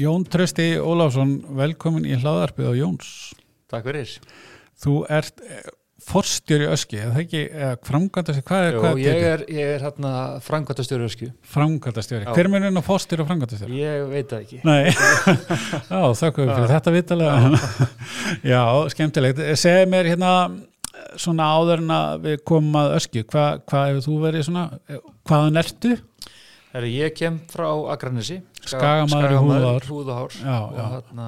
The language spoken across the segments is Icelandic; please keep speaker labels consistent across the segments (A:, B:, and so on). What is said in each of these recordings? A: Jón Trösti Óláfsson, velkomin í hlaðarpið á Jóns.
B: Takk fyrir.
A: Þú ert eh, forstjóri öski, eða það ekki eh, framkvæmdastjóri, hvað er,
B: Jó,
A: hvað
B: ég
A: er,
B: er, ég er hérna frangvættastjóri öskju.
A: framkvæmdastjóri?
B: Já.
A: Hver mun enn á forstjóri og framkvæmdastjóri?
B: Ég veit það ekki.
A: Nei, já, þakku fyrir þetta vitalega. Já, skemmtilegt. Segð mér hérna svona áður en að við komum að öskju, Hva- hvað hefur þú verið svona, hvaðan ertu?
B: Heru, ég kem frá Akranesi.
A: Skagamaður í húð og hár.
B: húðahár.
A: Já, já.
B: Og hérna,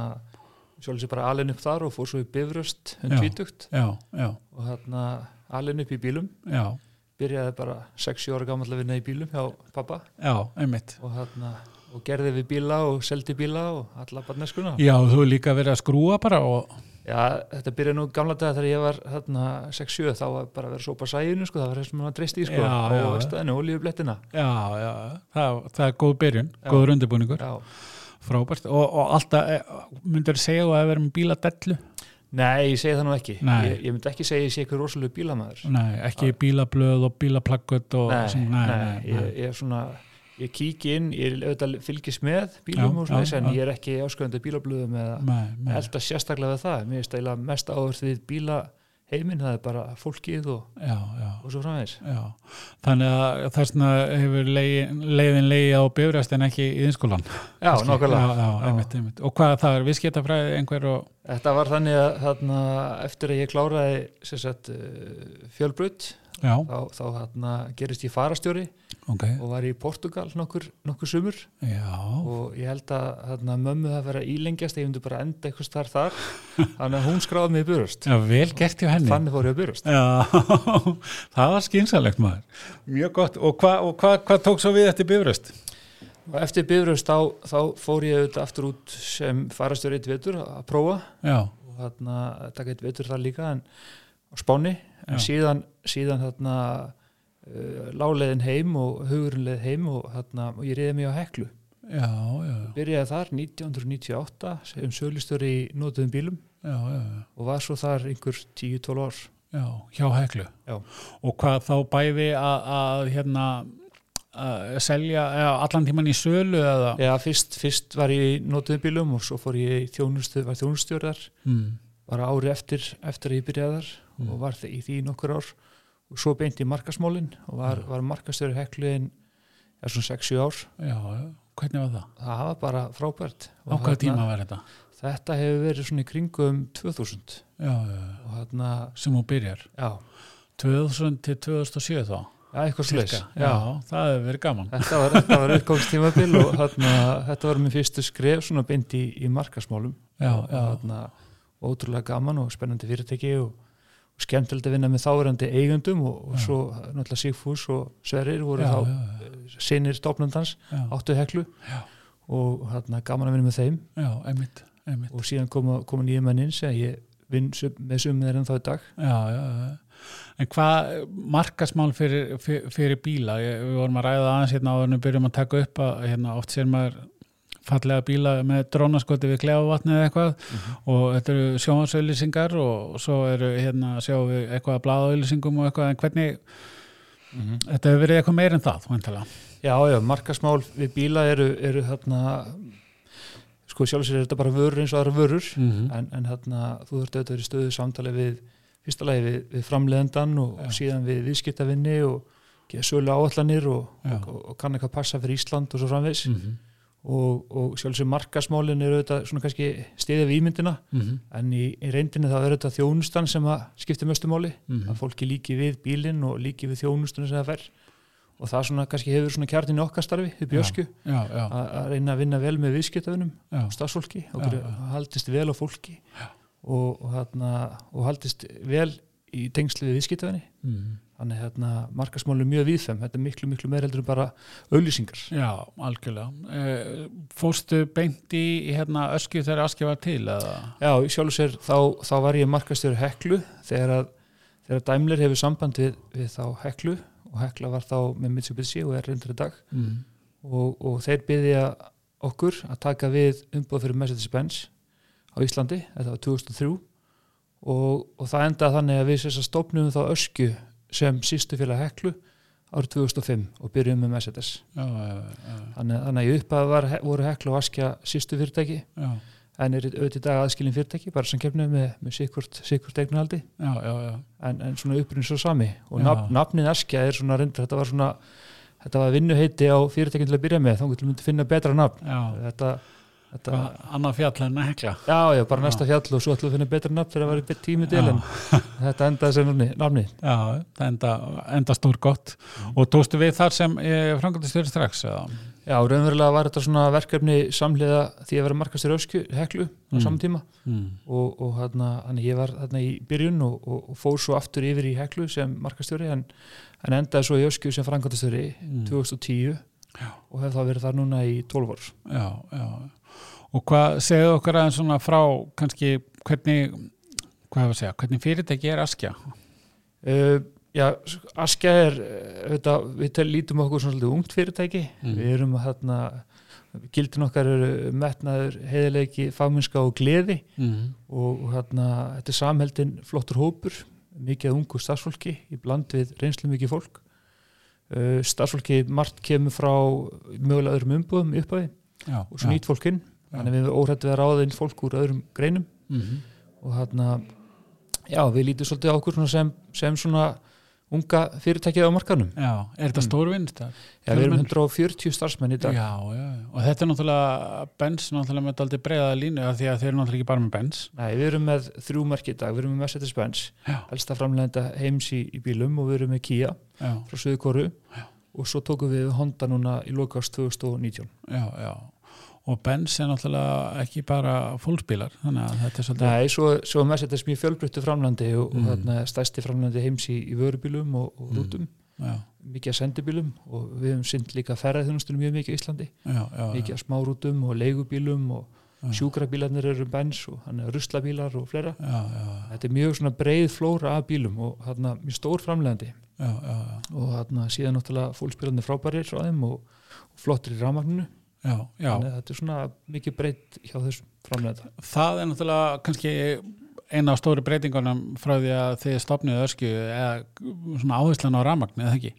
B: sjálfins ég bara alin upp þar og fór svo í bifröst, um
A: Já.
B: tvítugt.
A: Já, já,
B: Og hérna, alin upp í bílum.
A: já,
B: Byrjaði bara 60 ára gamall að vinna í bílum hjá pappa.
A: já, einmitt.
B: Og hérna, og gerði við bíla og seldi bíla og alla barneskuna.
A: Já, þú hefur líka verið að skrúa bara og,
B: Já, þetta byrjaði nú gamla daga þegar ég var hérna, 6-7 þá var bara að vera að sópa sæðinu sko, það var þessum að dreist í sko
A: Já,
B: og
A: já.
B: staðinu olíublettina
A: já, já, það, það er góð byrjun, góður undirbúningur,
B: Já.
A: frábært og, og alltaf, myndur segja þú að vera með bíladellu?
B: Nei, ég segi það nú ekki
A: Nei.
B: ég, ég myndi ekki segja að ég sé eitthvað rosalega bílamaður
A: Nei, ekki bílablöð og bílaplakkut og
B: nei,
A: svona,
B: Ég, ég er svona ég kíki inn, ég auðvitað fylgist með bílum
A: Já,
B: og svona,
A: já,
B: en
A: já.
B: ég er ekki ásköðandi bílablöðum eða
A: nei, nei.
B: elda sérstaklega við það, mér er stæla mest áður því bíla heiminn, það er bara fólkið og,
A: Já, já.
B: og svo framvegis
A: Já, þannig að þessna hefur leiðin, leiðin leiði á bifræst en ekki í innskólan.
B: Já, nákvæmlega
A: Já, já, einmitt, einmitt. Og hvað það er, viðskiptafræði einhver og...
B: Þetta var þannig að þarna, eftir að ég kláraði sem sagt, eh, fjölbraut
A: Já,
B: þá, þá þarna, gerist ég farastjóri
A: ok.
B: og var í Portugal nokkur, nokkur sumur
A: Já,
B: og ég held að þarna, mömmu það vera ílengjast ég myndi bara enda eitthvað starf þar þannig að hún skráði mig í burust
A: já vel gert hjá henni.
B: þannig fór ég að burust
A: Já, það var skynsalegt maður. Mjög gott. Og hvað og hva, hva tók svo við eftir bifræst?
B: og eftir bifrust þá, þá fór ég auðvitað aftur út sem farastjóri eitt vetur að prófa
A: Já,
B: og þarna, taka eitt vetur þar líka en, á Spáni en
A: Já.
B: síðan, síðan þarna uh, láleiðin heim og hugurinn leið heim og, þarna, og ég reyði mig á Heklu
A: já, já,
B: byrjaði þar 1998 sem söglistur í notuðum bílum
A: já, já, já.
B: og var svo þar einhver 10-12 ár
A: já hjá heklu.
B: Já.
A: Og hvað þá bæði að, að hérna að selja eða, allan tíman í sölu eða?
B: Já, fyrst, fyrst var ég í notuðum bílum og svo fór ég í þjónustu, var þjónustjörðar
A: Mm.
B: bara ári eftir, eftir að ég byrjaði þar
A: hmm.
B: og var þe- í því í nokkur ár og svo beint í markasmólin og var, var markastjóri hekluðin er svona 6-7 ár
A: Já, já. hvernig var það?
B: það hafa bara frábært
A: Á
B: Og
A: hvaða
B: þarna-
A: tíma var þetta?
B: þetta hefur verið svona í kringum 2000
A: Já, já, já.
B: og hérna,
A: sem hún byrjar.
B: já,
A: 2000 til 2007 þá.
B: já eitthvað slags
A: Cirka. Já, það hefur verið gaman.
B: þetta var, þetta var uppgóðstímabil og hérna, þetta var mér fyrstu skref svona beint í, í markasmálum
A: Já,
B: og
A: já.
B: hérna, ótrúlega gaman og spennandi fyrirtæki og, og skemmtilegt að vinna með þáverandi eigundum og, og svo náttúrulega Sigfús og Sverir voru
A: Já,
B: þá
A: já,
B: sinir stofnandans,
A: já,
B: áttu heklu
A: Já.
B: og hérna, gaman að vinna með þeim
A: já, einmitt, einmitt.
B: og síðan koma, koma nýjum menn inn sem ég vinn sum, með sumið er ennþá í dag
A: Já, já, já. En hvað markasmál fyrir, fyrir, fyrir bíla? Ég, við vorum að ræða aðeins hérna áður en við byrjum að taka upp að hérna oft sér maður fallega bíla með drónaskoti við klefavatni eða eitthvað og þetta eru sjónvarsauðlýsingar og svo eru hérna sjáum við eitthvað að blaðauðlýsingum og eitthvað en hvernig, þetta hefur verið eitthvað meir en það, vantala.
B: Já, já, markasmál við bíla eru, eru hérna sko sjálfsögur er þetta bara vörur eins og aðra vörur
A: Mm
B: en, en hérna þú þurft auðvitað að vera í stöðu samtali við fyrsta lagi við, við framleðendan og, og síðan við viðskiptavinni og geða sölu áallanir og,
A: Já.
B: og, og, og kann eitthvað passa fyrir Ísland og svo framvegs
A: Mm -hmm.
B: og, og sjálfsögur markasmálin eru auðvitað svona kannski stiðið við ímyndina
A: Mhm.
B: en í, í reyndinni þá er þetta þjónustan sem að skiptir möstumáli
A: Mhm.
B: að fólki líki við bílinn og líki við þjónustunum sem það fer og það svona kannski hefur svona kjartin í okkar starfi upp í ösku
A: Já, já,
B: að að reyna að vinna vel með viðskiptavinnum
A: já,
B: og stafsfólki og
A: Já,
B: gera-
A: já.
B: haldist vel á fólki og, og, hérna, og haldist vel í tengslu við viðskiptavinni
A: mm.
B: þannig hérna, markasmáli er mjög viðfem þetta er miklu miklu meir heldur en bara auðlýsingar
A: já, algjörlega. Eh, Fórstu beint í í hérna öskju þegar öskju var til eða?
B: Já, í sjálf sér þá, þá var ég markastjóri Heklu þegar að þegar Dæmler hefur samband við, við þá Heklu og Hekla var þá með Mitsubishi og er reyndur í dag
A: Mm.
B: og, og þeir byggja okkur að taka við umbúð fyrir Mercedes-Benz á Íslandi, þetta var 2003 og, og það endaði þannig að við sérst að stopnum þá ösku sem sístu félag Heklu árið 2005 og byrjuðum með Mercedes
A: já, já,
B: þannig, þannig að í upphæð var, voru hekla og askja sístu fyrirtæki
A: já,
B: en er auðvitað í dag aðskilin fyrirtæki bara sem kemnu með, með sikkurt, sikkurt eignarhaldi
A: já, já, já.
B: en, en svona upprinn svo sami og
A: Já.
B: nafn, nafnin Askja er svona reyndar, þetta var svona þetta var vinnuheiti á fyrirtækinn til að byrja með þá getum við finna betra nafn
A: já.
B: þetta, þetta
A: Hvað, Annað fjall en hekla
B: já, já, bara næsta fjall og svo ætlum við að finna betra nafn þegar það var í bet- tími til
A: Já.
B: en þetta endaði sem nafni, nafni.
A: Já, það enda, enda stór gott og tókstu við þar sem frangatistjóri strax eða?
B: já, raunverulega var þetta svona verkefni samlega því að vera markastur ösku, heklu á
A: Mm.
B: saman tíma
A: Mm.
B: og, og þarna, þannig ég var þarna í byrjun og, og, og fór svo aftur yfir í heklu sem markastjóri en, en endaði svo í öskju sem frangandastjóri
A: Mm.
B: 2010
A: Já.
B: og hef það verið þar núna í 12 ár
A: Já, já. Og hvað segðu okkur aðeins svona frá kannski hvernig, hvað hefur að segja, hvernig fyrirtæki er askja?
B: uh, Já, Askja er uh, þetta, við tel, lítum okkur svona svolítið ungt fyrirtæki
A: Mm.
B: við erum þarna gildin okkar eru metnaður heiðileiki, fagmennska og gleði
A: Mm.
B: og, og þarna, þetta er samheldin flottur hópur, mikið af ungu starfsfólki í bland við reynslu mikið fólk uh, starfsfólki margt kemur frá mögulega öðrum umbúðum í upphafi
A: Já,
B: og svo nýtt fólk inn
A: Já.
B: þannig við erum óhrætt við að ráða inn fólk úr öðrum greinum
A: Mm.
B: og þarna já, við lítum svolítið á okkur svona sem, sem svona unga fyrirtækið á markanum
A: já, er þetta
B: Mm.
A: stór vinst?
B: já, við erum
A: Fjölmenn.
B: 140 starfsmenn í
A: Já,
B: dag
A: já, já. Og þetta er náttúrulega, Benz náttúrulega með aldrei breiða línu af því að þeir eru náttúrulega ekki bara með Benz.
B: Nei, við erum með þrjú merki í dag, við erum með Mercedes-Benz
A: Já.
B: elsta framlegenda heims í, í bílum og við erum með Kia
A: Já,
B: frá Suðukoru og svo tókum við Honda núna í lokast 2019
A: já, já. Og Benz er náttúrulega ekki bara fólksbílar, þannig að þetta er svolítið...
B: Nei, svo, svo er Mercedes mjög fjölbreyttu framlandi og,
A: Mm.
B: og þarna stærsti framlandi heims í, í vörubílum og, og
A: Mm.
B: rútum
A: Já,
B: mikið að sendibílum og við hefum sinnt líka ferðarþjónustunum mjög mikið í Íslandi
A: já, já.
B: mikið að smárútum og leigubílum og
A: Já.
B: sjúkrabílarnir eru bens og hann er ruslabílar og fleira
A: Já, já,
B: þetta er mjög svona breið flóra af bílum og þarna mjög stór framlegandi
A: já, já, já.
B: og þarna síðan náttúrulega fólkspílarnir frábærir frá þeim og, og flottir í rafmagninu
A: Já, já,
B: þannig að þetta er svona mikið breytt hjá þessum framleganda
A: það er náttúrulega kannski eina af stóru breytingunum frá því að þið stopnið öskju eða svona áherslan á rafmagn eða ekki?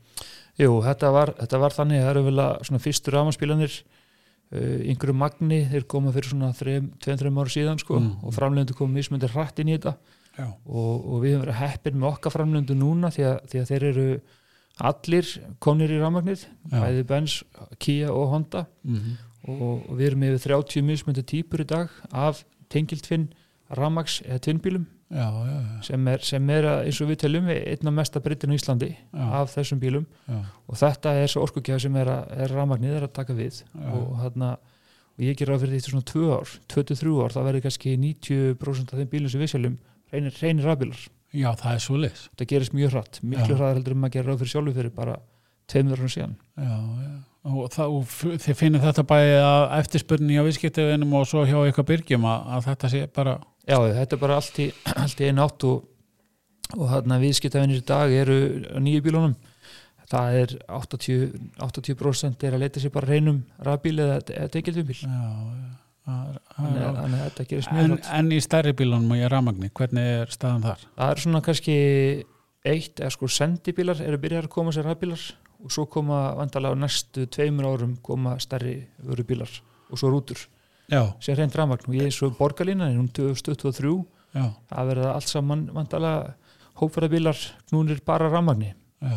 B: Jú, þetta var, þetta var þannig að það eru vel að svona fyrstu rafmagnspílanir uh, yngru magni, þeir koma fyrir svona 2-3 ára síðan sko
A: Mm.
B: og framlegundu komum mismöndir hratt inn í þetta
A: Já,
B: og, og við höfum verið heppin með okkar framlegundu núna því að, því að þeir eru allir komnir í rafmagnið
A: já.
B: bæði Benz, Kia og Honda
A: Mhm.
B: og, og við erum yfir 30 mismöndir típur í dag af tengiltvinn rafmags eða tvinnbílum
A: já, já, já,
B: sem er, sem er að, eins og við teljum einn af mesta breytinu í Íslandi
A: já,
B: af þessum bílum
A: já,
B: og þetta er svo orkugjafa sem er, að- er rafmagnið er að taka við
A: Já.
B: og, þarna, og ég gerir á fyrir því svona 2 ár, 23 ár, það verður kannski 90% af þeim bílum sem við seljum reynir, reynir rafbílar,
A: já, það er svo leis.
B: þetta gerist mjög hratt miklu
A: Já.
B: hraðar heldur en maður gerir á fyrir sjálfu fyrir bara tveimur árum síðan
A: Já, já. Og, það, og f- þið finnir þetta bæði að eftirspurni á viðskiptiðinum og svo hjá eitthvað byrgjum að, að þetta sé bara...
B: Já, þetta er bara allt í, allt í einn átt og, og þarna viðskiptafinir í dag eru á nýju bílunum það er 80%, 80 er að leita sér bara reynum rafbíl eða, eða tekildum bíl
A: Já, já. Það er- það
B: þannig
A: er-
B: að þannig að þetta gerist mjög
A: En,
B: hratt
A: en í stærri bílunum og í rafmagni, hvernig er staðan þar?
B: það er svona kannski eitt eða sko sendibílar eru byrjar að koma sér rafbílar og svo koma vandalega á næstu tveimur árum koma stærri vörubílar og svo rútur
A: Já,
B: sem reynd rafmagn og ég er svo borgarlína hún 2023,
A: já,
B: það verða allt saman vandalega hópferðabílar núnir bara rafmagni
A: já,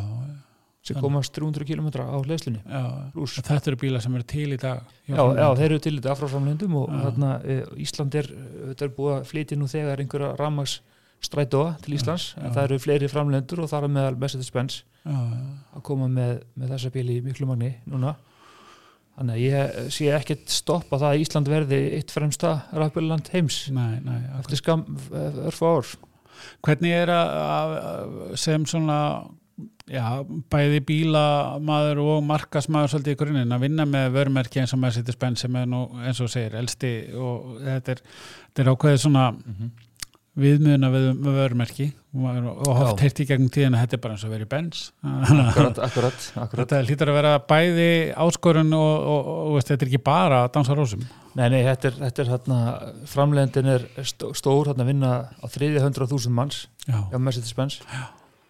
B: sem
A: Þannig.
B: komast 300 km á hlæslunni
A: já.
B: pluss
A: Þetta eru bílar sem eru til í dag.
B: Já, já, þeir eru til þetta afráframlendum og
A: Já.
B: þarna e, Ísland er, þetta er búið að flytja nú þegar einhverja rafmags strætóa til Íslands,
A: já.
B: en það eru fleiri framlendur og þar er meðal Mercedes-Benz
A: já, já.
B: að koma með, með þessa bíli í miklu magni núna þannig að ég sé ekkert stoppa það að Ísland verði eitt fremsta rafbjörnland heims
A: Nei, nei, akkur.
B: eftir skam örfa ár
A: hvernig er að, að að- sem svona já, bæði bílamaður og markasmaður svolítið í grunninn að vinna með vörmerki eins og maður sittir spenn sem er nú eins og þú segir elsti og þetta er, þetta er ákveðið svona
B: Mhm.
A: viðmiðuna við, með vörmerki Maður- og haft
B: Já.
A: heyrt í gegnum tíðin að þetta er bara eins og verið bens
B: akkurat, akkurat,
A: þetta hlýtur að vera bæði áskorun og, og, og, veist, þetta er ekki bara að dansa á rósum
B: Nei, nei, þetta er, þetta er hérna framlegndin er stó- stór hérna að vinna á 300.000 manns
A: já,
B: hjá Mercedes-Benz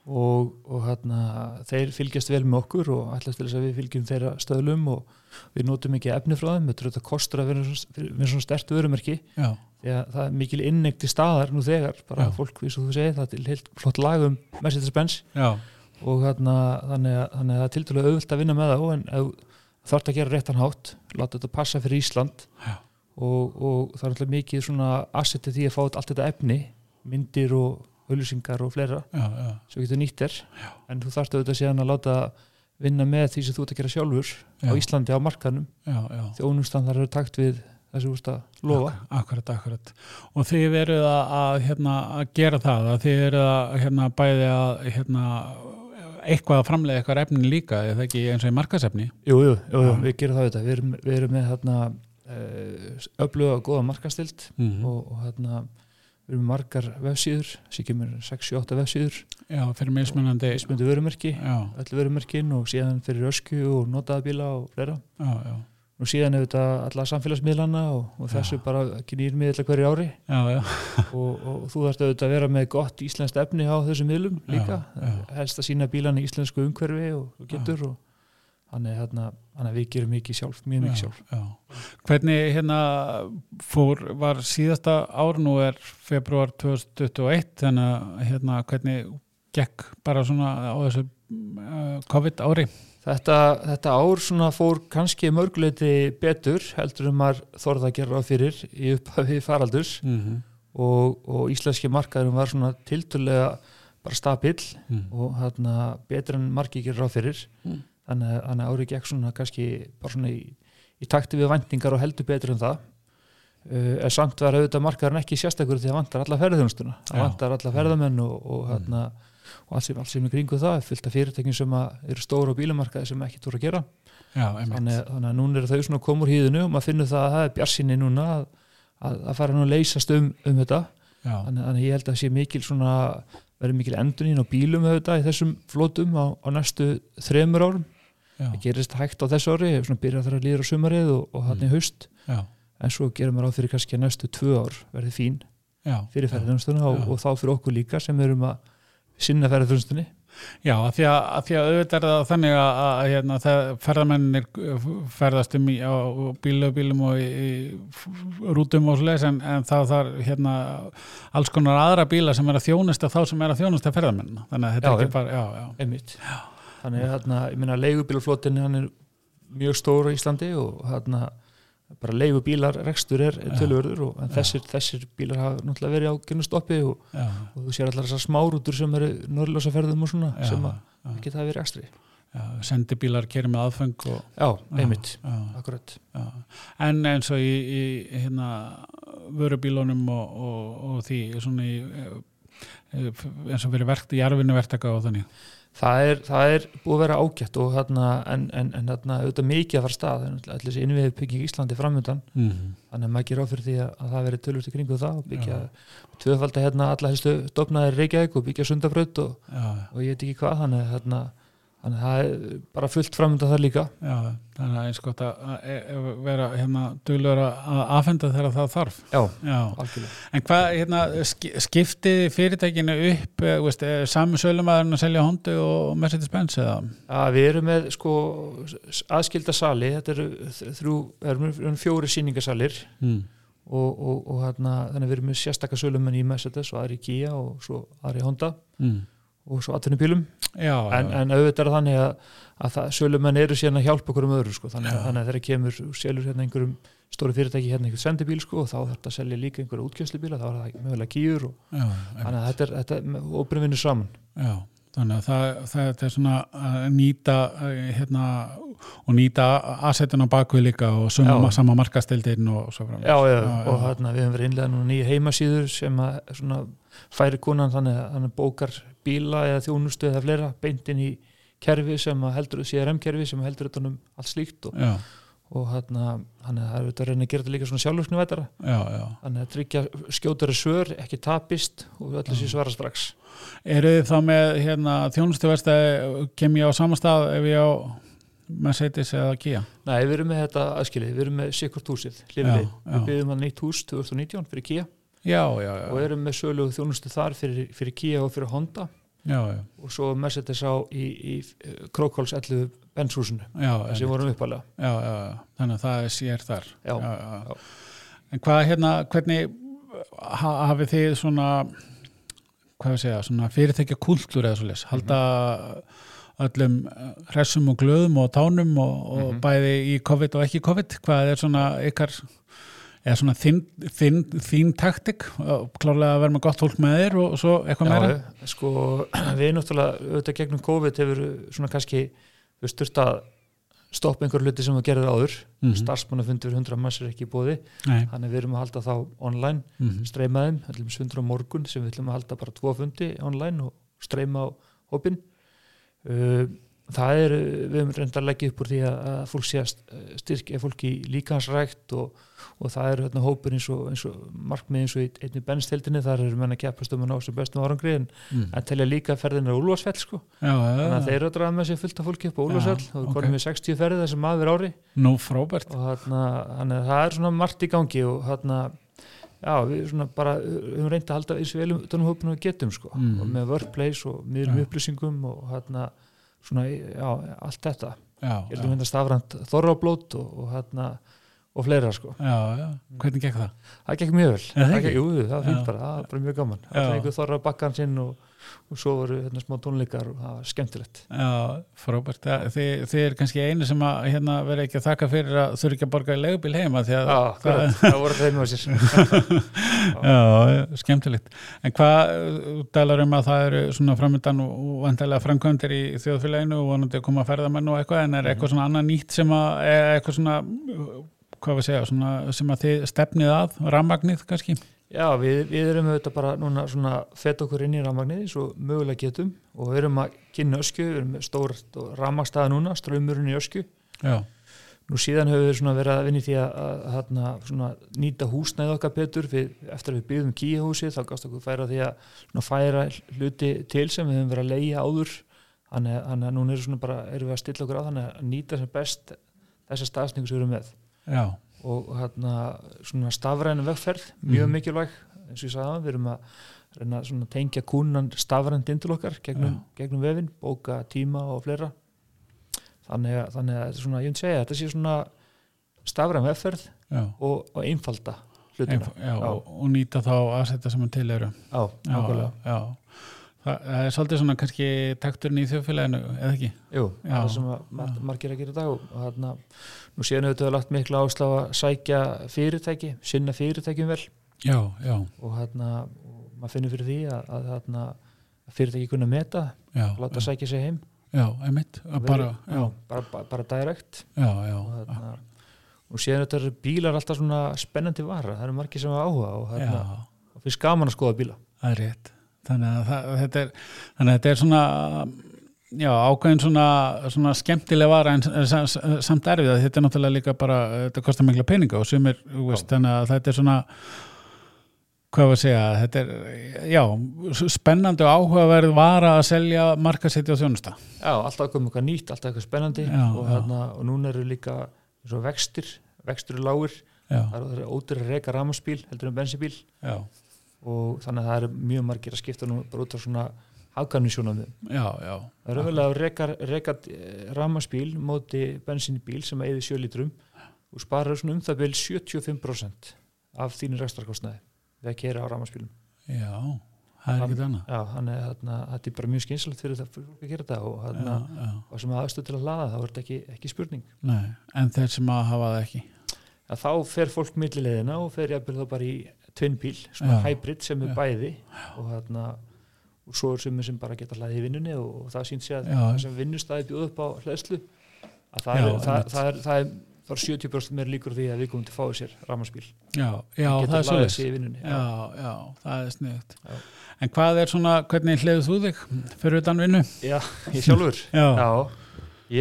B: og, og hérna, þeir fylgjast vel með okkur og ætlast til þess að við fylgjum þeirra stöðlum og við notum ekki efni frá þeim við trúum að það kostur að vera með svona- með svona stert vörumerki
A: já,
B: því að það er mikil innegt í staðar nú þegar, bara
A: Já.
B: fólk, eins og þú segir það er til heilt flott lag um Mercedes-Benz
A: já,
B: og hérna, þannig, að, þannig að það er tildulega auðvöld að vinna með þá en þarf að gera réttan hátt, láta þetta passa fyrir Ísland
A: Já.
B: og, og það er alltaf mikið svona asseti því að fá allt þetta efni myndir og auðlýsingar og fleira
A: já, já,
B: sem getur nýtt þér en þú þarft auðvitað síðan að láta vinna með því sem þú ert að gera sjálfur
A: já,
B: á Íslandi á markanum,
A: já, já.
B: þjónustan þar eru takt við það sem þú ert að lofa
A: Ak- Akkurat, akkurat. Og þið eruð að, að, hérna, að gera það, að þið eruð að hérna, bæði að hérna, eitthvað að framlega eitthvað efni líka, eða ekki eins og í markasefni.
B: Jú, jú, jú, jú
A: Já.
B: við gerum það auðvitað við erum, við erum með hérna uh, öfluga og góða markastild
A: Mm
B: og, og hérna við erum með margar vefsíður, sér kemur 6-8 vefsíður,
A: Já, fyrir mismunandi.
B: mismunandi vörumerki
A: Já,
B: öll vörumerkin og síðan fyrir ösku og notaðabíla og fleira
A: já, já.
B: og síðan auðvitað alla samfélagsmiðlana og, og þessu
A: Já.
B: bara nýjir miðla hverju ári
A: Já, já,
B: og, og þú þarft auðvitað að vera með gott íslenskt efni á þessum miðlum
A: Já,
B: líka
A: já.
B: helst að sína bílan í íslensku umhverfi og, og getur og þannig, hérna, þannig að við gerum mikið sjálf, mjög mikið
A: já,
B: sjálf
A: já. Hvernig hérna fór, var síðasta ár nú er februar 2021 þannig að hérna hvernig gekk bara svona á þessu uh, COVID ári
B: þetta, þetta ár svona fór kannski mörguleiti betur heldur en maður þorða að gera á fyrir í upphafi faraldurs
A: mm -hmm.
B: og, og íslenski markaðurum var svona tiltölulega bara stabill og hérna, betur en margi gerir á fyrir
A: Mm.
B: þannig, að- þannig að árið gekk svona kannski bara svona í, í takti við vendingar og heldur betur en það uh, en samt var auðvitað markaðurinn ekki sérstakur því að vantar alla ferðarþjónustuna það
A: Já. Mm.
B: vantar alla ferðamenn og, og, hérna, og allt sem, allt sem er kringu það er fullt af fyrirtækjum sem að eru stóra á bílamarkaði sem ekki tóra að gera
A: Já, einmitt
B: þannig, þannig að núna eru þau svona að koma úr hýðinu og maður finnur það að það er bjarsinni núna að, að, að fara nú að leysast um, um þetta
A: já,
B: þannig, þannig að ég held að sé mikil svona verður mikil endunin á bílum auðvitað í þessum flotum á, á næstu þremur árum,
A: já,
B: það gerist hægt á þessu ári, svona byrja þar að líður á sumarið og, og þannig mm. haust,
A: já,
B: en svo gerum við ráð fyrir kannski að næstu tvö ár verði fín
A: já.
B: fyrir ferðarþjónustuna og,
A: Já.
B: og þá fyrir okkur líka sem erum að sinna ferðarþjónustunni
A: Já, að því að, að því að auðvitað er það þannig að, að, að hérna, það ferðamennir uh, ferðast um í, á bílu og bílum og í, í rútum og svoleiðis en, en það þarf hérna, alls konar aðra bíla sem er að þjónusta þá sem er að þjónusta ferðamennina þannig að þetta
B: Já,
A: er
B: já.
A: ekki bara, já, já,
B: einmitt þannig að hérna, ég meina leigubílaflotin hann er mjög stór á Íslandi og hérna bara leigubílar rekstur er er
A: Já.
B: töluverður og en
A: Já.
B: þessir, þessir bílar hafa náttúrulega verið á gynnustoppi og,
A: já,
B: og þú sér allar þessar smárútur sem eru norðlösaferðum og svona
A: já,
B: sem að
A: já.
B: geta að vera rekstri
A: já, sendibílar kerir með aðfeng og,
B: já, einmitt,
A: já,
B: akkurat
A: já. en eins og í, í hérna vörubílunum og, og, og því svona í eh, eins og verið verkt í jarfinu verktaka og þannig
B: það er, það er búið að vera ágætt og hérna, en, en, en hérna, auðvitað mikið að fara af stað en allir þessi innviði bygging Íslandi framöndan
A: mm -hmm.
B: þannig að maður gerir áfyrir því að, að það veri tölvöld í kringu það og byggja tvöfalda hérna alla helstu dofnaðir Reykjavík og byggja sundabraut og,
A: já,
B: og ég veit ekki hvað þannig að hérna, þannig að það er bara fullt framönda það líka
A: Já, þannig að eins gott að að- að vera hérna duðlur að afhenda þegar það þarf.
B: já,
A: Já,
B: algjörlega
A: en hvað hérna ski- skiptið fyrirtækinu upp, eh, veist, eh, sami sölumæðurinn að selja hondu og Mercedes-Benz eða?
B: að við erum með sko s- aðskilda sali, þetta eru þ- þrjú, erum, erum fjóri síningasalir
A: Mm.
B: og, og, og hérna, þannig að við erum með sérstakka sölumenn í Mercedes og aðri í Kia og svo aðri í Honda
A: Mm.
B: og svo atvinnum bílum
A: Já,
B: en,
A: já,
B: en auðvitað er þannig að, að það, sölumenn eru síðan að hjálpa okkur um öðru sko. þannig,
A: Já.
B: að- þannig að þeirra kemur og selur hérna einhverjum stóru fyrirtæki hérna einhvern sendibíl sko, og þá þarf þetta að selja líka einhverja útgjöfslubíla þá er það mögulega kýur og,
A: já,
B: þannig að þetta er, þetta er óbrinn vinnur saman
A: já, þannig að það, það, það er svona að nýta eh, hérna og nýta asetin á bakvið líka og
B: Já.
A: suma, sama markastildin og svo fram.
B: já, já,
A: já.
B: og hérna við höfum verið innlega núna nýja heimasíður sem að svona færi konan þannig að hann bókar bíla eða þjónustu eða fleira beint inn í kerfi sem að heldur CRM-kerfi sem heldur þetta um allt slíkt og,
A: Já,
B: og hérna, hann er auðvitað að reyna að gera þetta líka svona sjálfurknu vætara
A: já, já.
B: þannig að tryggja skjótari svör, ekki tapist og öllu sér svara strax
A: Eru þið þá með hérna, þjónustuverstaði, kem ég á sama stað ef ég á Mercedes eða Kia?
B: Nei, við erum með þetta aðskilið, við erum með sikkurt húsið,
A: Já,
B: hlifilið,
A: já.
B: við byggjum hann nýtt hús 2019 fyrir KIA
A: Já, já,
B: og erum með sölu og þjónustu þar fyrir, fyrir KIA og fyrir Honda
A: já, já,
B: og svo Mercedes á í, eh, í Krókóls 11 benshúsinu
A: já,
B: sem vorum uppalega
A: já, já, já. þannig að það er sér þar
B: já,
A: já, já. En hvað hérna, hvernig ha, hafið þið svona hvað við segja, svona fyrirtækja kultúr eða
B: Mhm.
A: svoleiðis, halda öllum eh, hressum og glöðum og tánum og, og
B: Mhm.
A: bæði í COVID og ekki COVID, hvað er svona ykkar eða svona þín, þín, þín taktik, Eh, klárlega að vera með gott fólk með þér og svo eitthvað meira
B: já, já. sko við náttúrulega auðvitað gegnum COVID hefur eh, svona kannski við styrst að stoppa einhver hluti sem við gerðum áður mm
A: Mhm.
B: -hmm. starfsmannafundur 100 manns er ekki í bóði
A: Nei,
B: þannig við erum að halda þá online
A: mhm,
B: streymaðum, öllum sundur á morgun sem við ætlum að halda bara tvo fundi online og streyma á hópin uh, það er uh, við höfum reyndar að leggja upp úr því að, að fólk sé að st- eh, styrkja fólk í líkansrækt og, og það er hérna, hópur eins og, eins og markmið eins og í einni bennstildinni þar eru menn að keppast um að ná sem bestum árangri en,
A: mhm.
B: en telja líka ferðin er úlfarsfell sko.
A: já, já,
B: þannig að
A: já.
B: þeir eru að draga með sér fullt af fólki upp á
A: Ah. Já,
B: úlfarsfell og við
A: ok.
B: konum við 60 ferði þessum aður ári
A: nú frábært
B: og þarna, þannig að það er svona margt í gangi og þarna já, við svona bara höfum reyndi að halda eins um og velum utanum hópinu við getum sko
A: Mhm.
B: og með workplace og miðlum
A: Já.
B: upplýsingum og þarna svona, já, allt þetta
A: já, já,
B: ég heldum hérna stafrænt þorrablót og, og þarna og fleira sko,
A: já, já, hvernig gekk það?
B: það gekk mjög vel
A: Er það
B: það
A: ekki?
B: gekk, jú, jú, það var
A: Já.
B: fínt bara, það var bara mjög gaman
A: Já.
B: það leikur þorra bakkan sinn og, og svo voru hérna smá tónleikar og það var skemmtilegt
A: Já, frábært. Það- Þið, þið er kannski einu sem að hérna, vera ekki að þakka fyrir að þurfi ekki að borga í leigubíl heima því að
B: já, það, það voru þeim á sér
A: Já, skemmtilegt. En hvað uh, talar um að það eru svona framöndan og- og vantilega framkvæmdir í þjóðfélaginu og vonandi að koma að ferðamenn og eitthvað en er eitthvað svona annað nýtt sem að er eitthvað svona, uh, hvað við segja, svona, sem að þið stefnið að, rammagnið kannski?
B: Já, við, við erum auðvitað bara núna svona fett okkur inn í rafmagnið eins og mögulega getum og við erum að kynna ösku, við erum með stórt og rafmagstaða núna, strömmurinn í ösku.
A: Já,
B: Nú síðan höfum við svona verið að vinna í því að, að, þarna svona, nýta húsnæði okkar betur við, eftir að við byggðum kíhúsið þá gafst okkur færa því að svona, færa hluti til sem við höfum verið að leigja áður þannig að- þannig að núna erum, svona bara, erum við að stilla okkur á þannig að nýta sem best þessa staðsningu sem við erum með
A: já,
B: og hérna svona stafræna vegferð mjög
A: Mhm.
B: mikilvæg eins og ég sagði að við erum að reyna að svona tengja kúnan stafrænt inn til okkar gegnum, gegnum vefin, bóka tíma og fleira þannig að, þannig að þetta er svona, ég myndi segja að þetta sé svona stafræn vegferð
A: já.
B: og, og einfalda hlutina
A: Einf- já, og, og nýta þá aðsetta sem að til eru.
B: já, nákvæmlega
A: já, já. Þa, það er svolítið svona kannski takturinn í þjóðfélaginu, eða ekki?
B: Jú,
A: Já.
B: það er sem að mar- margir að gera í dag og og þarna, nú séðan auðvitað er lagt mikla áslá að sækja fyrirtæki, sinna fyrirtækjum vel
A: Já, já,
B: og hérna og maður finnur fyrir því að, að þarna að fyrirtæki kunna meta,
A: já,
B: láta
A: já,
B: sækja sig heim
A: já einmitt, að
B: Veri-
A: bara, já,
B: já, bara, bara, bara direkt
A: já,
B: og,
A: já,
B: þarna, og síðan þetta eru bílar alltaf svona spennandi vara, það eru margir sem hafa áhuga og
A: já,
B: þarna, og finnst gaman að skoða bíla
A: það er rétt. Þannig að það, þetta er, þannig að þetta er svona, já, ákveðin svona, svona skemmtileg vara en s- s- samt erfið að þetta er náttúrulega líka bara, þetta kostar mikla peninga og sumir, þú veist, þannig að þetta er svona, hvað var að segja, þetta er, já, s- spennandi og áhugaverð vara að selja markasetti og þjónusta.
B: já, alltaf komið eitthvað nýtt, alltaf eitthvað spennandi
A: Já,
B: og,
A: já.
B: þarna, og núna eru líka svo vextir, vextur er lágir
A: Já,
B: það eru- það eru ódýr að reka rafmansbíl heldur en bensinbíl
A: já,
B: og þannig að það eru mjög margir að skipta nú bara út af svona hafgarnisjónamið
A: já, já,
B: Það er raunverulega að reka, reka ramaspíl eh, móti bensinbíl sem að eyði sjölítrum og sparar svona um það bil 75% af þínu rekstarkostnaði við að kera á ramaspílum.
A: já, það er ekkert annað.
B: Já, þannig að þarna- þetta er bara mjög skynsalegt fyrir það fyrir fólk að gera þetta og, þarna,
A: Já, já.
B: og sem aðstöð til að laða þá er þetta ekki, ekki spurning.
A: Nei, en þeir sem að hafa það ekki
B: Að þá fer fólk millilegðina og fer jafnvel þá bara í tvinnbíl, svona
A: Já.
B: hybrid sem
A: Já.
B: er bæði og þarna og svo er sumir sem bara geta hlaðið í vinnunni og, og það sínt sér að
A: Já.
B: það sem vinnustæði bjóð upp á hlæðslu að það,
A: Já,
B: er, það,
A: einmitt.
B: það, er, það er bara 70% meira líkur því að við komum til að fáið sér rafmagnspíl.
A: Já, já
B: Geta
A: það er
B: laðið
A: svolítið
B: sig í vinnunni.
A: Já, já, það er sniðut
B: Já.
A: En hvað er svona, hvernig hliðu þú þig fyrir utan vinnu?
B: Já, ég sjálfur
A: Já, já,
B: Já,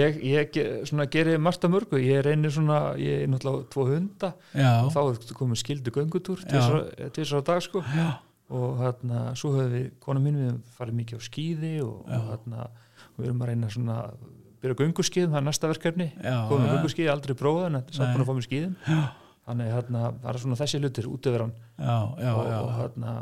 B: ég, ég ge- svona, geri margt að mörgu, ég reynir svona ég er náttúrulega tvo hunda og
A: já,
B: þá er komið skildu göngutúr
A: Já.
B: til þessar á dag sko og þarna, svo höfum við, kona mín við höfum farið mikið á skíði og, og
A: Já.
B: þarna, við erum að reyna svona að byrja á gönguskíðum, það er næsta verkefni
A: já, já,
B: komum við gönguskíði, aldrei prófað en samt
A: Nei.
B: búin að fá mér skíðin þannig hérna, þarna, það er svona þessi hlutir, útiveran
A: já, já,
B: og, og
A: já,
B: þarna,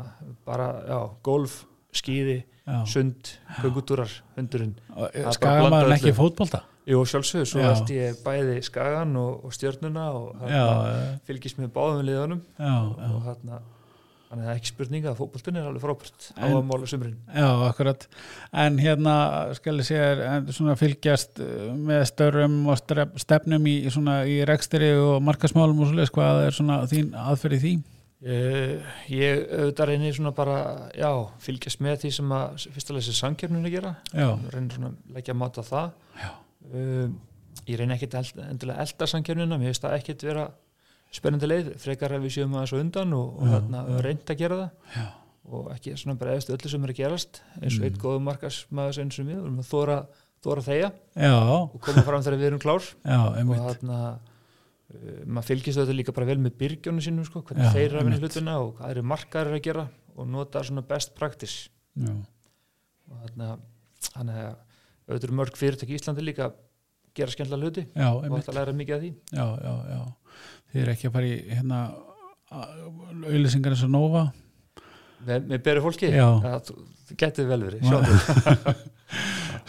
B: bara, já, golf skýði,
A: já.
B: sund, göngutúrar hundurinn. er bara
A: Skagamaður
B: blandað
A: en ekki
B: öllu.
A: fótbolta
B: Jú, sjálfsögur, svo
A: Já.
B: ætti ég bæði skagan og, og stjörnuna og
A: já,
B: hérna,
A: eh,
B: fylgist með báðum liðanum
A: já, já,
B: og hérna, þannig að það er ekki spurninga að fótboltin er alveg frábært á
A: En-
B: að mála sumrin.
A: já, akkurat en hérna, skal ég segja þér, en svona fylgjast eh, með störum og stref, stefnum í, svona, í rekstri og markasmálum og svoleiðis, hvað er svona þín aðferði því?
B: Uh, ég auðvitað reynir svona bara, já, fylgjast með því sem að fyrst að lesa samkjöfnun að gera
A: Já,
B: reynir svona að leggja mat á það
A: Já.
B: um, ég reyni ekkit eld, endilega að elda samkjöfnina, mér finnst það ekkit vera spennandi leið, frekar að við séum aðeins á undan og, og
A: Já,
B: hérna,
A: já.
B: reynd að gera það
A: Já.
B: og ekki svona bara eðast öllu sem er að gerast eins og
A: Mm.
B: mm. eitt góðum markasmaður eins og við, við þóra, þóra þeia
A: já,
B: og koma fram þegar við erum klár
A: já,
B: og
A: einmitt
B: þarna uh, maður fylgist þetta líka bara vel með byrgjónu sínum sko, hvernig
A: Já,
B: þeir eru að vinna
A: einmitt.
B: hlutina og hvað eru markaðir að gera og nota svona best practice
A: já,
B: og þarna þannig að auðvitað eru mörg fyrirtæki í Íslandi líka að gera skemmtilega hluti
A: já,
B: og
A: einmitt
B: þetta læra mikið af því
A: já, já, já þið er ekki að fara í hérna auðlýsingar eins og Nova
B: með, með beru fólki,
A: Já.
B: það, það getið vel verið
A: Já.
B: sjálfur.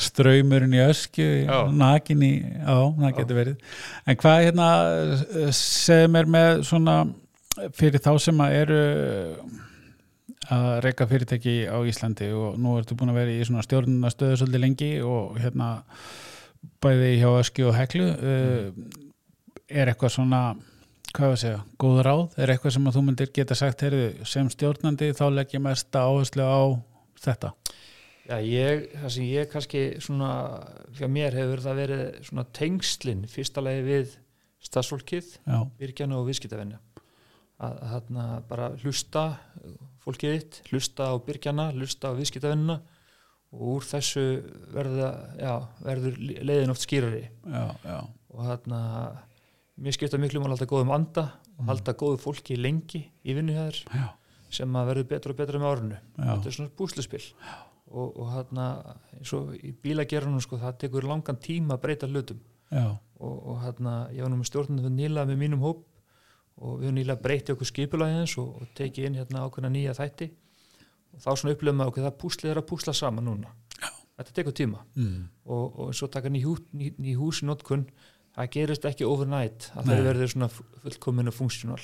A: ströymurinn í öskju
B: Já.
A: nakin í, já, það
B: Já.
A: getur verið en hvað hérna eh, segir mér með svona fyrir þá sem að eru að reyka fyrirtæki á Íslandi og nú ertu búin að vera í svona stjórnunastöðu svolítið lengi og hérna bæði hjá öskju og heklu
B: Mm.
A: uh, er eitthvað svona hvað var að segja, góð ráð er eitthvað sem að þú myndir geta sagt heyrðu, sem stjórnandi þá legg ég mesta áherslu á þetta
B: Já, ég, það sem ég kannski svona, fyrir mér hefur það verið svona tengslin fyrsta lagi við staðsfólkið
A: já,
B: virkjana og viðskiptavenja að, að þarna bara hlusta uh, fólkið þitt, hlusta á byrgjana hlusta á viðskiptavenna og úr þessu verða, já, verður li- leiðin oft skýrari
A: já, já,
B: og þarna mér skipta miklu mál að halda góðum anda og halda góðu fólki lengi í vinnuhæður
A: Mm. já.
B: sem að verður betra og betra með árinu
A: Já,
B: þetta er svona búsluspil og, og þarna, eins og í bílagerunum sko, það tekur langan tíma að breyta hlutum
A: já,
B: og, og hérna, ég var nú með stjórnum nýla með mínum hóp og við höfum nýla breytið okkur skipulagi eins og, og tekið inn hérna ákveðna nýja þætti og þá svona upplifum við okkur það púslið er að púsla saman núna þetta tekur tíma
A: mm.
B: og, og svo taka ný, hú, ný, ný hús í notkun það gerist ekki overnight að
A: Nei.
B: þeir verður svona fullkominu funksjónal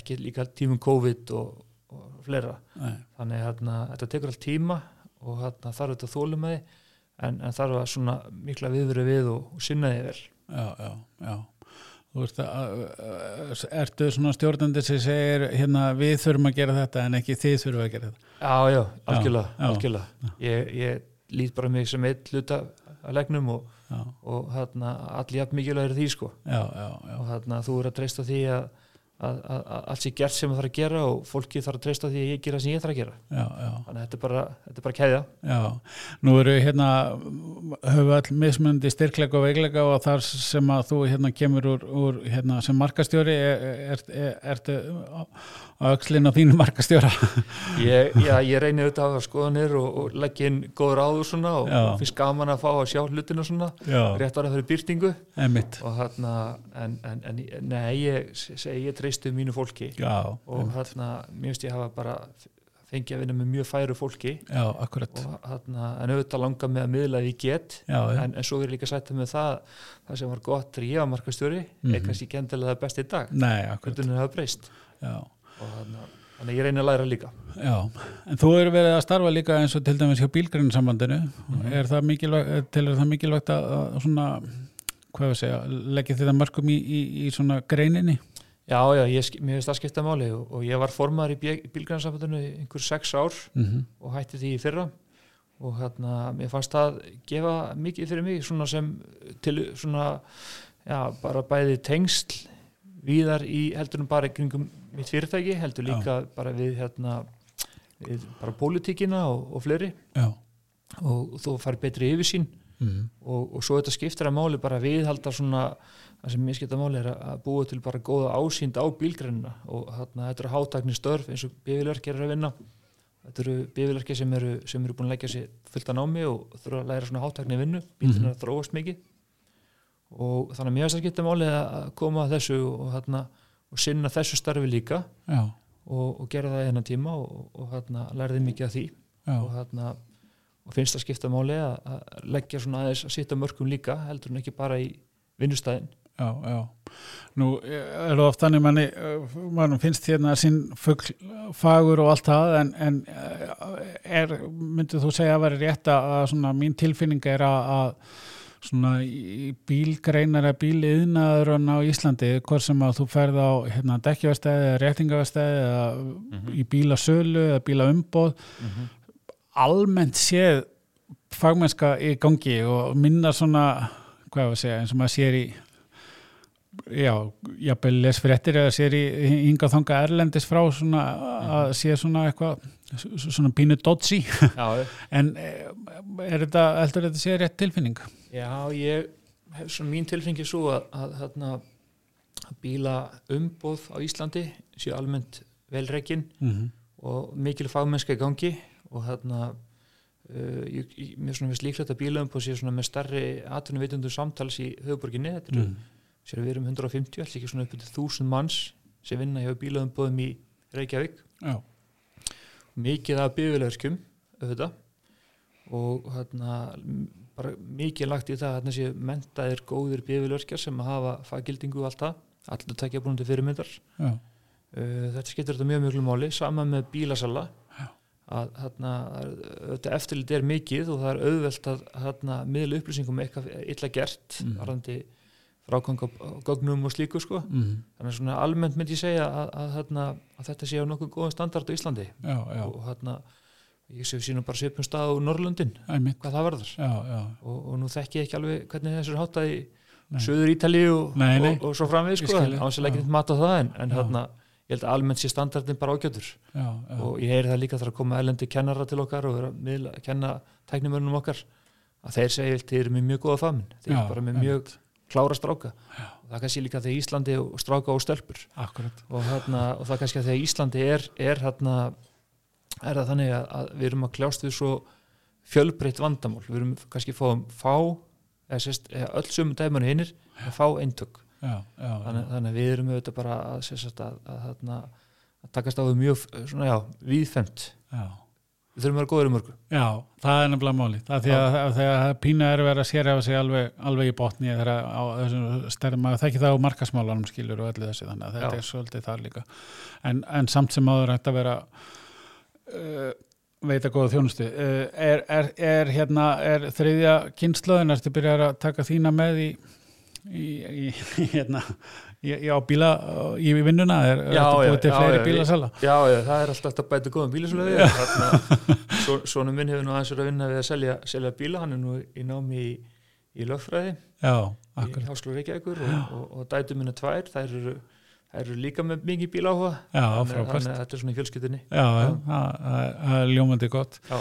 B: ekki líka tímum COVID og, og fleira
A: Nei,
B: þannig að hérna, þetta tekur allt tíma og hérna, þarf þetta þólum með því en, en þarf að svona mikla viðveru við og, og sinna því vel
A: já, já, já. Þú veist að, að- að- ertu svona stjórnandi sem segir hérna við þurfum að gera þetta en ekki þið þurfum að gera þetta.
B: Já, já, algjörlega,
A: já.
B: algjörlega. Ég, ég lít bara mig sem eitt hluta að legnum og,
A: Já,
B: og hérna, allir jafn mikilvægir því sko.
A: já, já, já,
B: og hérna, þú er að treysta því að, að, að, að allt sé gert sem það þarf að gera og fólki þarf að treysta því að ég gera sem ég þarf að gera
A: já, já,
B: þannig að þetta er bara, þetta er bara keðja
A: já. Nú eru hérna höfum all mismunandi styrkleika og veikleika og þar sem að þú hérna kemur úr, úr hérna sem markastjóri e, er, er, er, ertu á- á öxlin á þínu markastjóra.
B: ég, já, ég reynir auðvitað að hafa skoðanir og, og leggja inn góð ráður svona og,
A: Já.
B: og finnst gaman að fá að sjá hlutina svona
A: Já,
B: rétt var að fyrir byrtingu
A: emitt.
B: og hérna, en, en, en nei, ég segi, ég treysti mínu fólki
A: Já,
B: og hérna, mér finnst ég hafa bara fengið að vinna með mjög færu fólki
A: já, akkurat.
B: og hérna, en auðvitað langar mig að miðla því ég get
A: Já, já,
B: en, en svo verður líka sættið með það það sem var gott þegar ég var markastjóri er
A: Mhm.
B: kannski ekki endilega það besti í dag
A: nei, akkurat,
B: hvernig það breyst
A: já.
B: og hérna, þannig að ég reyni að læra líka
A: Já, en þú eru verið að starfa líka eins og til dæmis hjá bílgrinsambandinu er það mikilvægt, telur það mikilvægt að, að svona, hvað við segja leggja þetta mörgum í, í, í svona greininni?
B: já, já, ég, sk- mér finnst það skipta máli og, og ég var formaður í bílgrænsambandinu einhver sex ár
A: Mm
B: og hætti því í fyrra og hérna, mér fannst það gefa mikið fyrir mig svona sem til svona, já, bara bæði tengsl víðar í heldur en bara í kringum mitt fyrirtæki heldur
A: Já.
B: líka bara við hérna við bara pólitíkina og, og fleiri
A: Já
B: og þú fari betri yfirsýn
A: mm.
B: og, og svo þetta skiptir að máli bara viðhalda svona, það sem mér skiptir að máli er að- að búa til bara góða ásýnd á bílgreinina og þarna þetta eru hátakni störf eins og bifilverki eru að vinna þetta eru bifilverki sem eru, sem eru búin að leggja sér fullt að námi og þurfa að læra svona hátakni vinnu, bílinn er að þróast mikið og þannig að mér finnst það skiptir máli að að koma að þessu og þarna og sinna þessu starfi líka
A: Já,
B: og, og gera það í hennan tíma og, og þarna lærði mikið af því
A: já,
B: og, þarna, og finnst það skipta máli að, að leggja svona aðeins að sitja mörgum líka heldur en ekki bara í vinnustæðin
A: já, já. Nú e, er það oft þannig manni, mann finnst hérna sinn fugl, fagur og allt það en, en eh, er, myndir þú segja að vera rétt að að svona, mín tilfinning er að, að svona í bílgreinar að bíliðnaður á Íslandi, hvort sem að þú ferð á hérna, dekkjaverstæði eða réttingaverstæði eða í bílasölu eða bílaumbóð almennt séð fagmennska í gangi og minna svona, hvað ég að segja, eins og maður sér í já, jafnvel les fréttir eða sér í hinga þanga erlendis frá svona
B: Mhm.
A: að sé svona eitthvað s- svona pínu dodgy
B: Já,
A: en eh, er þetta, heldur þetta sé rétt tilfinning?
B: já ég hef svona mín tilfengi svo að, að, þarna, að bíla umboð á Íslandi séu almennt velreikin
A: Mm -hmm.
B: og mikil fagmennska í gangi og þarna Uh, ég, ég, mér svona finnst líklegt að bílaumboð sé svona með starri atvinnuveitundu samtals í höfuborginni, þetta eru sér að við erum 150, allir ekki svona upp til 1000 manns sem vinna hjá bílaðumbóðum í Reykjavík,
A: Já,
B: mikið af bíðulegurskjum auðvitað og hérna bara mikið lagt í það að hérna séu mentaðir góðir bíðulegurskjar sem hafa faggildingu og allt það allir takja búin til fyrirmyndar
A: já,
B: Uh, þetta skiptir þetta mjög mjög máli, sama með bílasala
A: Já.
B: að hérna þetta eftirlit er mikið og það er auðvelt að hérna miðla upplýsingum með eitthvað illa gert,
A: Mhm.
B: varðandi frágang á á gögnum og slíku sko
A: mm,
B: þannig að svona almennt myndi ég segja að, að, þarna, að þetta sé á nokkuð góðan standard á Íslandi
A: já, já,
B: og þarna, ég sé sínum bara svipum stað á Norrlöndin,
A: æmitt
B: hvað það varðar
A: já, já,
B: og, og nú þekki ég ekki alveg hvernig þessu er háttað í
A: Nei.
B: söður Ítali og,
A: Nei, nei.
B: og, og svo
A: Ég
B: framvið sko,
A: skil þig.
B: án sem
A: Já.
B: leggir þetta mat á það en, en
A: Já.
B: þarna, ég held að almennt sé standardin bara ágjötur
A: já, já.
B: og ég heyri það líka þar að koma erlendi kennara til okkar og vera að miðla- kenna tæknimörnum okkar að þeir segja að þeir eru með mjög góða famin þeir
A: Já,
B: eru bara með mjög klára stráka og það er kannski líka þegar Íslandi og og stráka og stelpur
A: akkurat
B: og, þarna, og það er kannski að þegar Íslandi er, er, þarna, er það þannig að, að við erum að kljást við svo fjölbreytt vandamál, við erum kannski fáum fá, eða sérst, eða öll sömu dæmanu hinnir, að fá eintök
A: já, já,
B: þannig, þannig að við erum auðvitað bara að, sérst, að, að, þarna, að takast á við mjög svona, já, viðfemt
A: já.
B: við þurfum að vera góður í mörgu
A: Já, það er nefnilega máli það er því að, að þegar það pína er verið að sérhefa sig alveg, alveg í botni þegar að- á þessum stærðum maður þekki það á markasmálanum skilur og öllu þessi þannig að þetta
B: Já.
A: er svolítið þar líka en, en samt sem áður hægt að vera uh, veita góða þjónustu uh, er, er, er hérna er þriðja kynnslóðin ertu byrjar að taka þína með í, í, í hérna í, í, á bíla, í, í vinnuna er,
B: Já,
A: ertu
B: já,
A: búið til
B: já,
A: fleiri
B: já,
A: bílasala
B: já, já, það er alltaf hægt að bæta góðum bílisölu svona minn hefur nú aðeins verið að vinna við að selja, selja bíla, hann er nú í námi í, í lögfræði
A: Já,
B: í
A: akkurat
B: Háskóla Reykjavíkur og, og, og dætu minna tvær, þær eru, þær eru líka með mikið bíláhuga
A: Já,
B: þannig
A: frábært
B: þannig að þetta er svona í fjölskyldinni
A: Já, já, það það- það er ljómandi gott.
B: Já.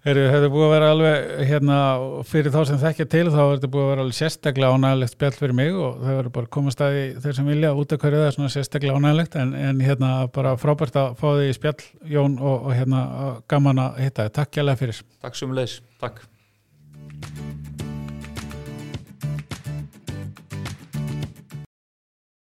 A: Eru, þetta er búið að vera alveg, hérna, fyrir þá sem þekkja til þá er þetta búið að vera alveg sérstaklega ánægilegt spjall fyrir mig og það verður bara komast að því þeir sem vilja út að hverju það er svona sérstaklega ánægilegt en, en hérna bara frábært að fá því spjall Jón og, og hérna gaman að hitta þið. Takk kjærlega fyrir.
B: Takk sömulegis, takk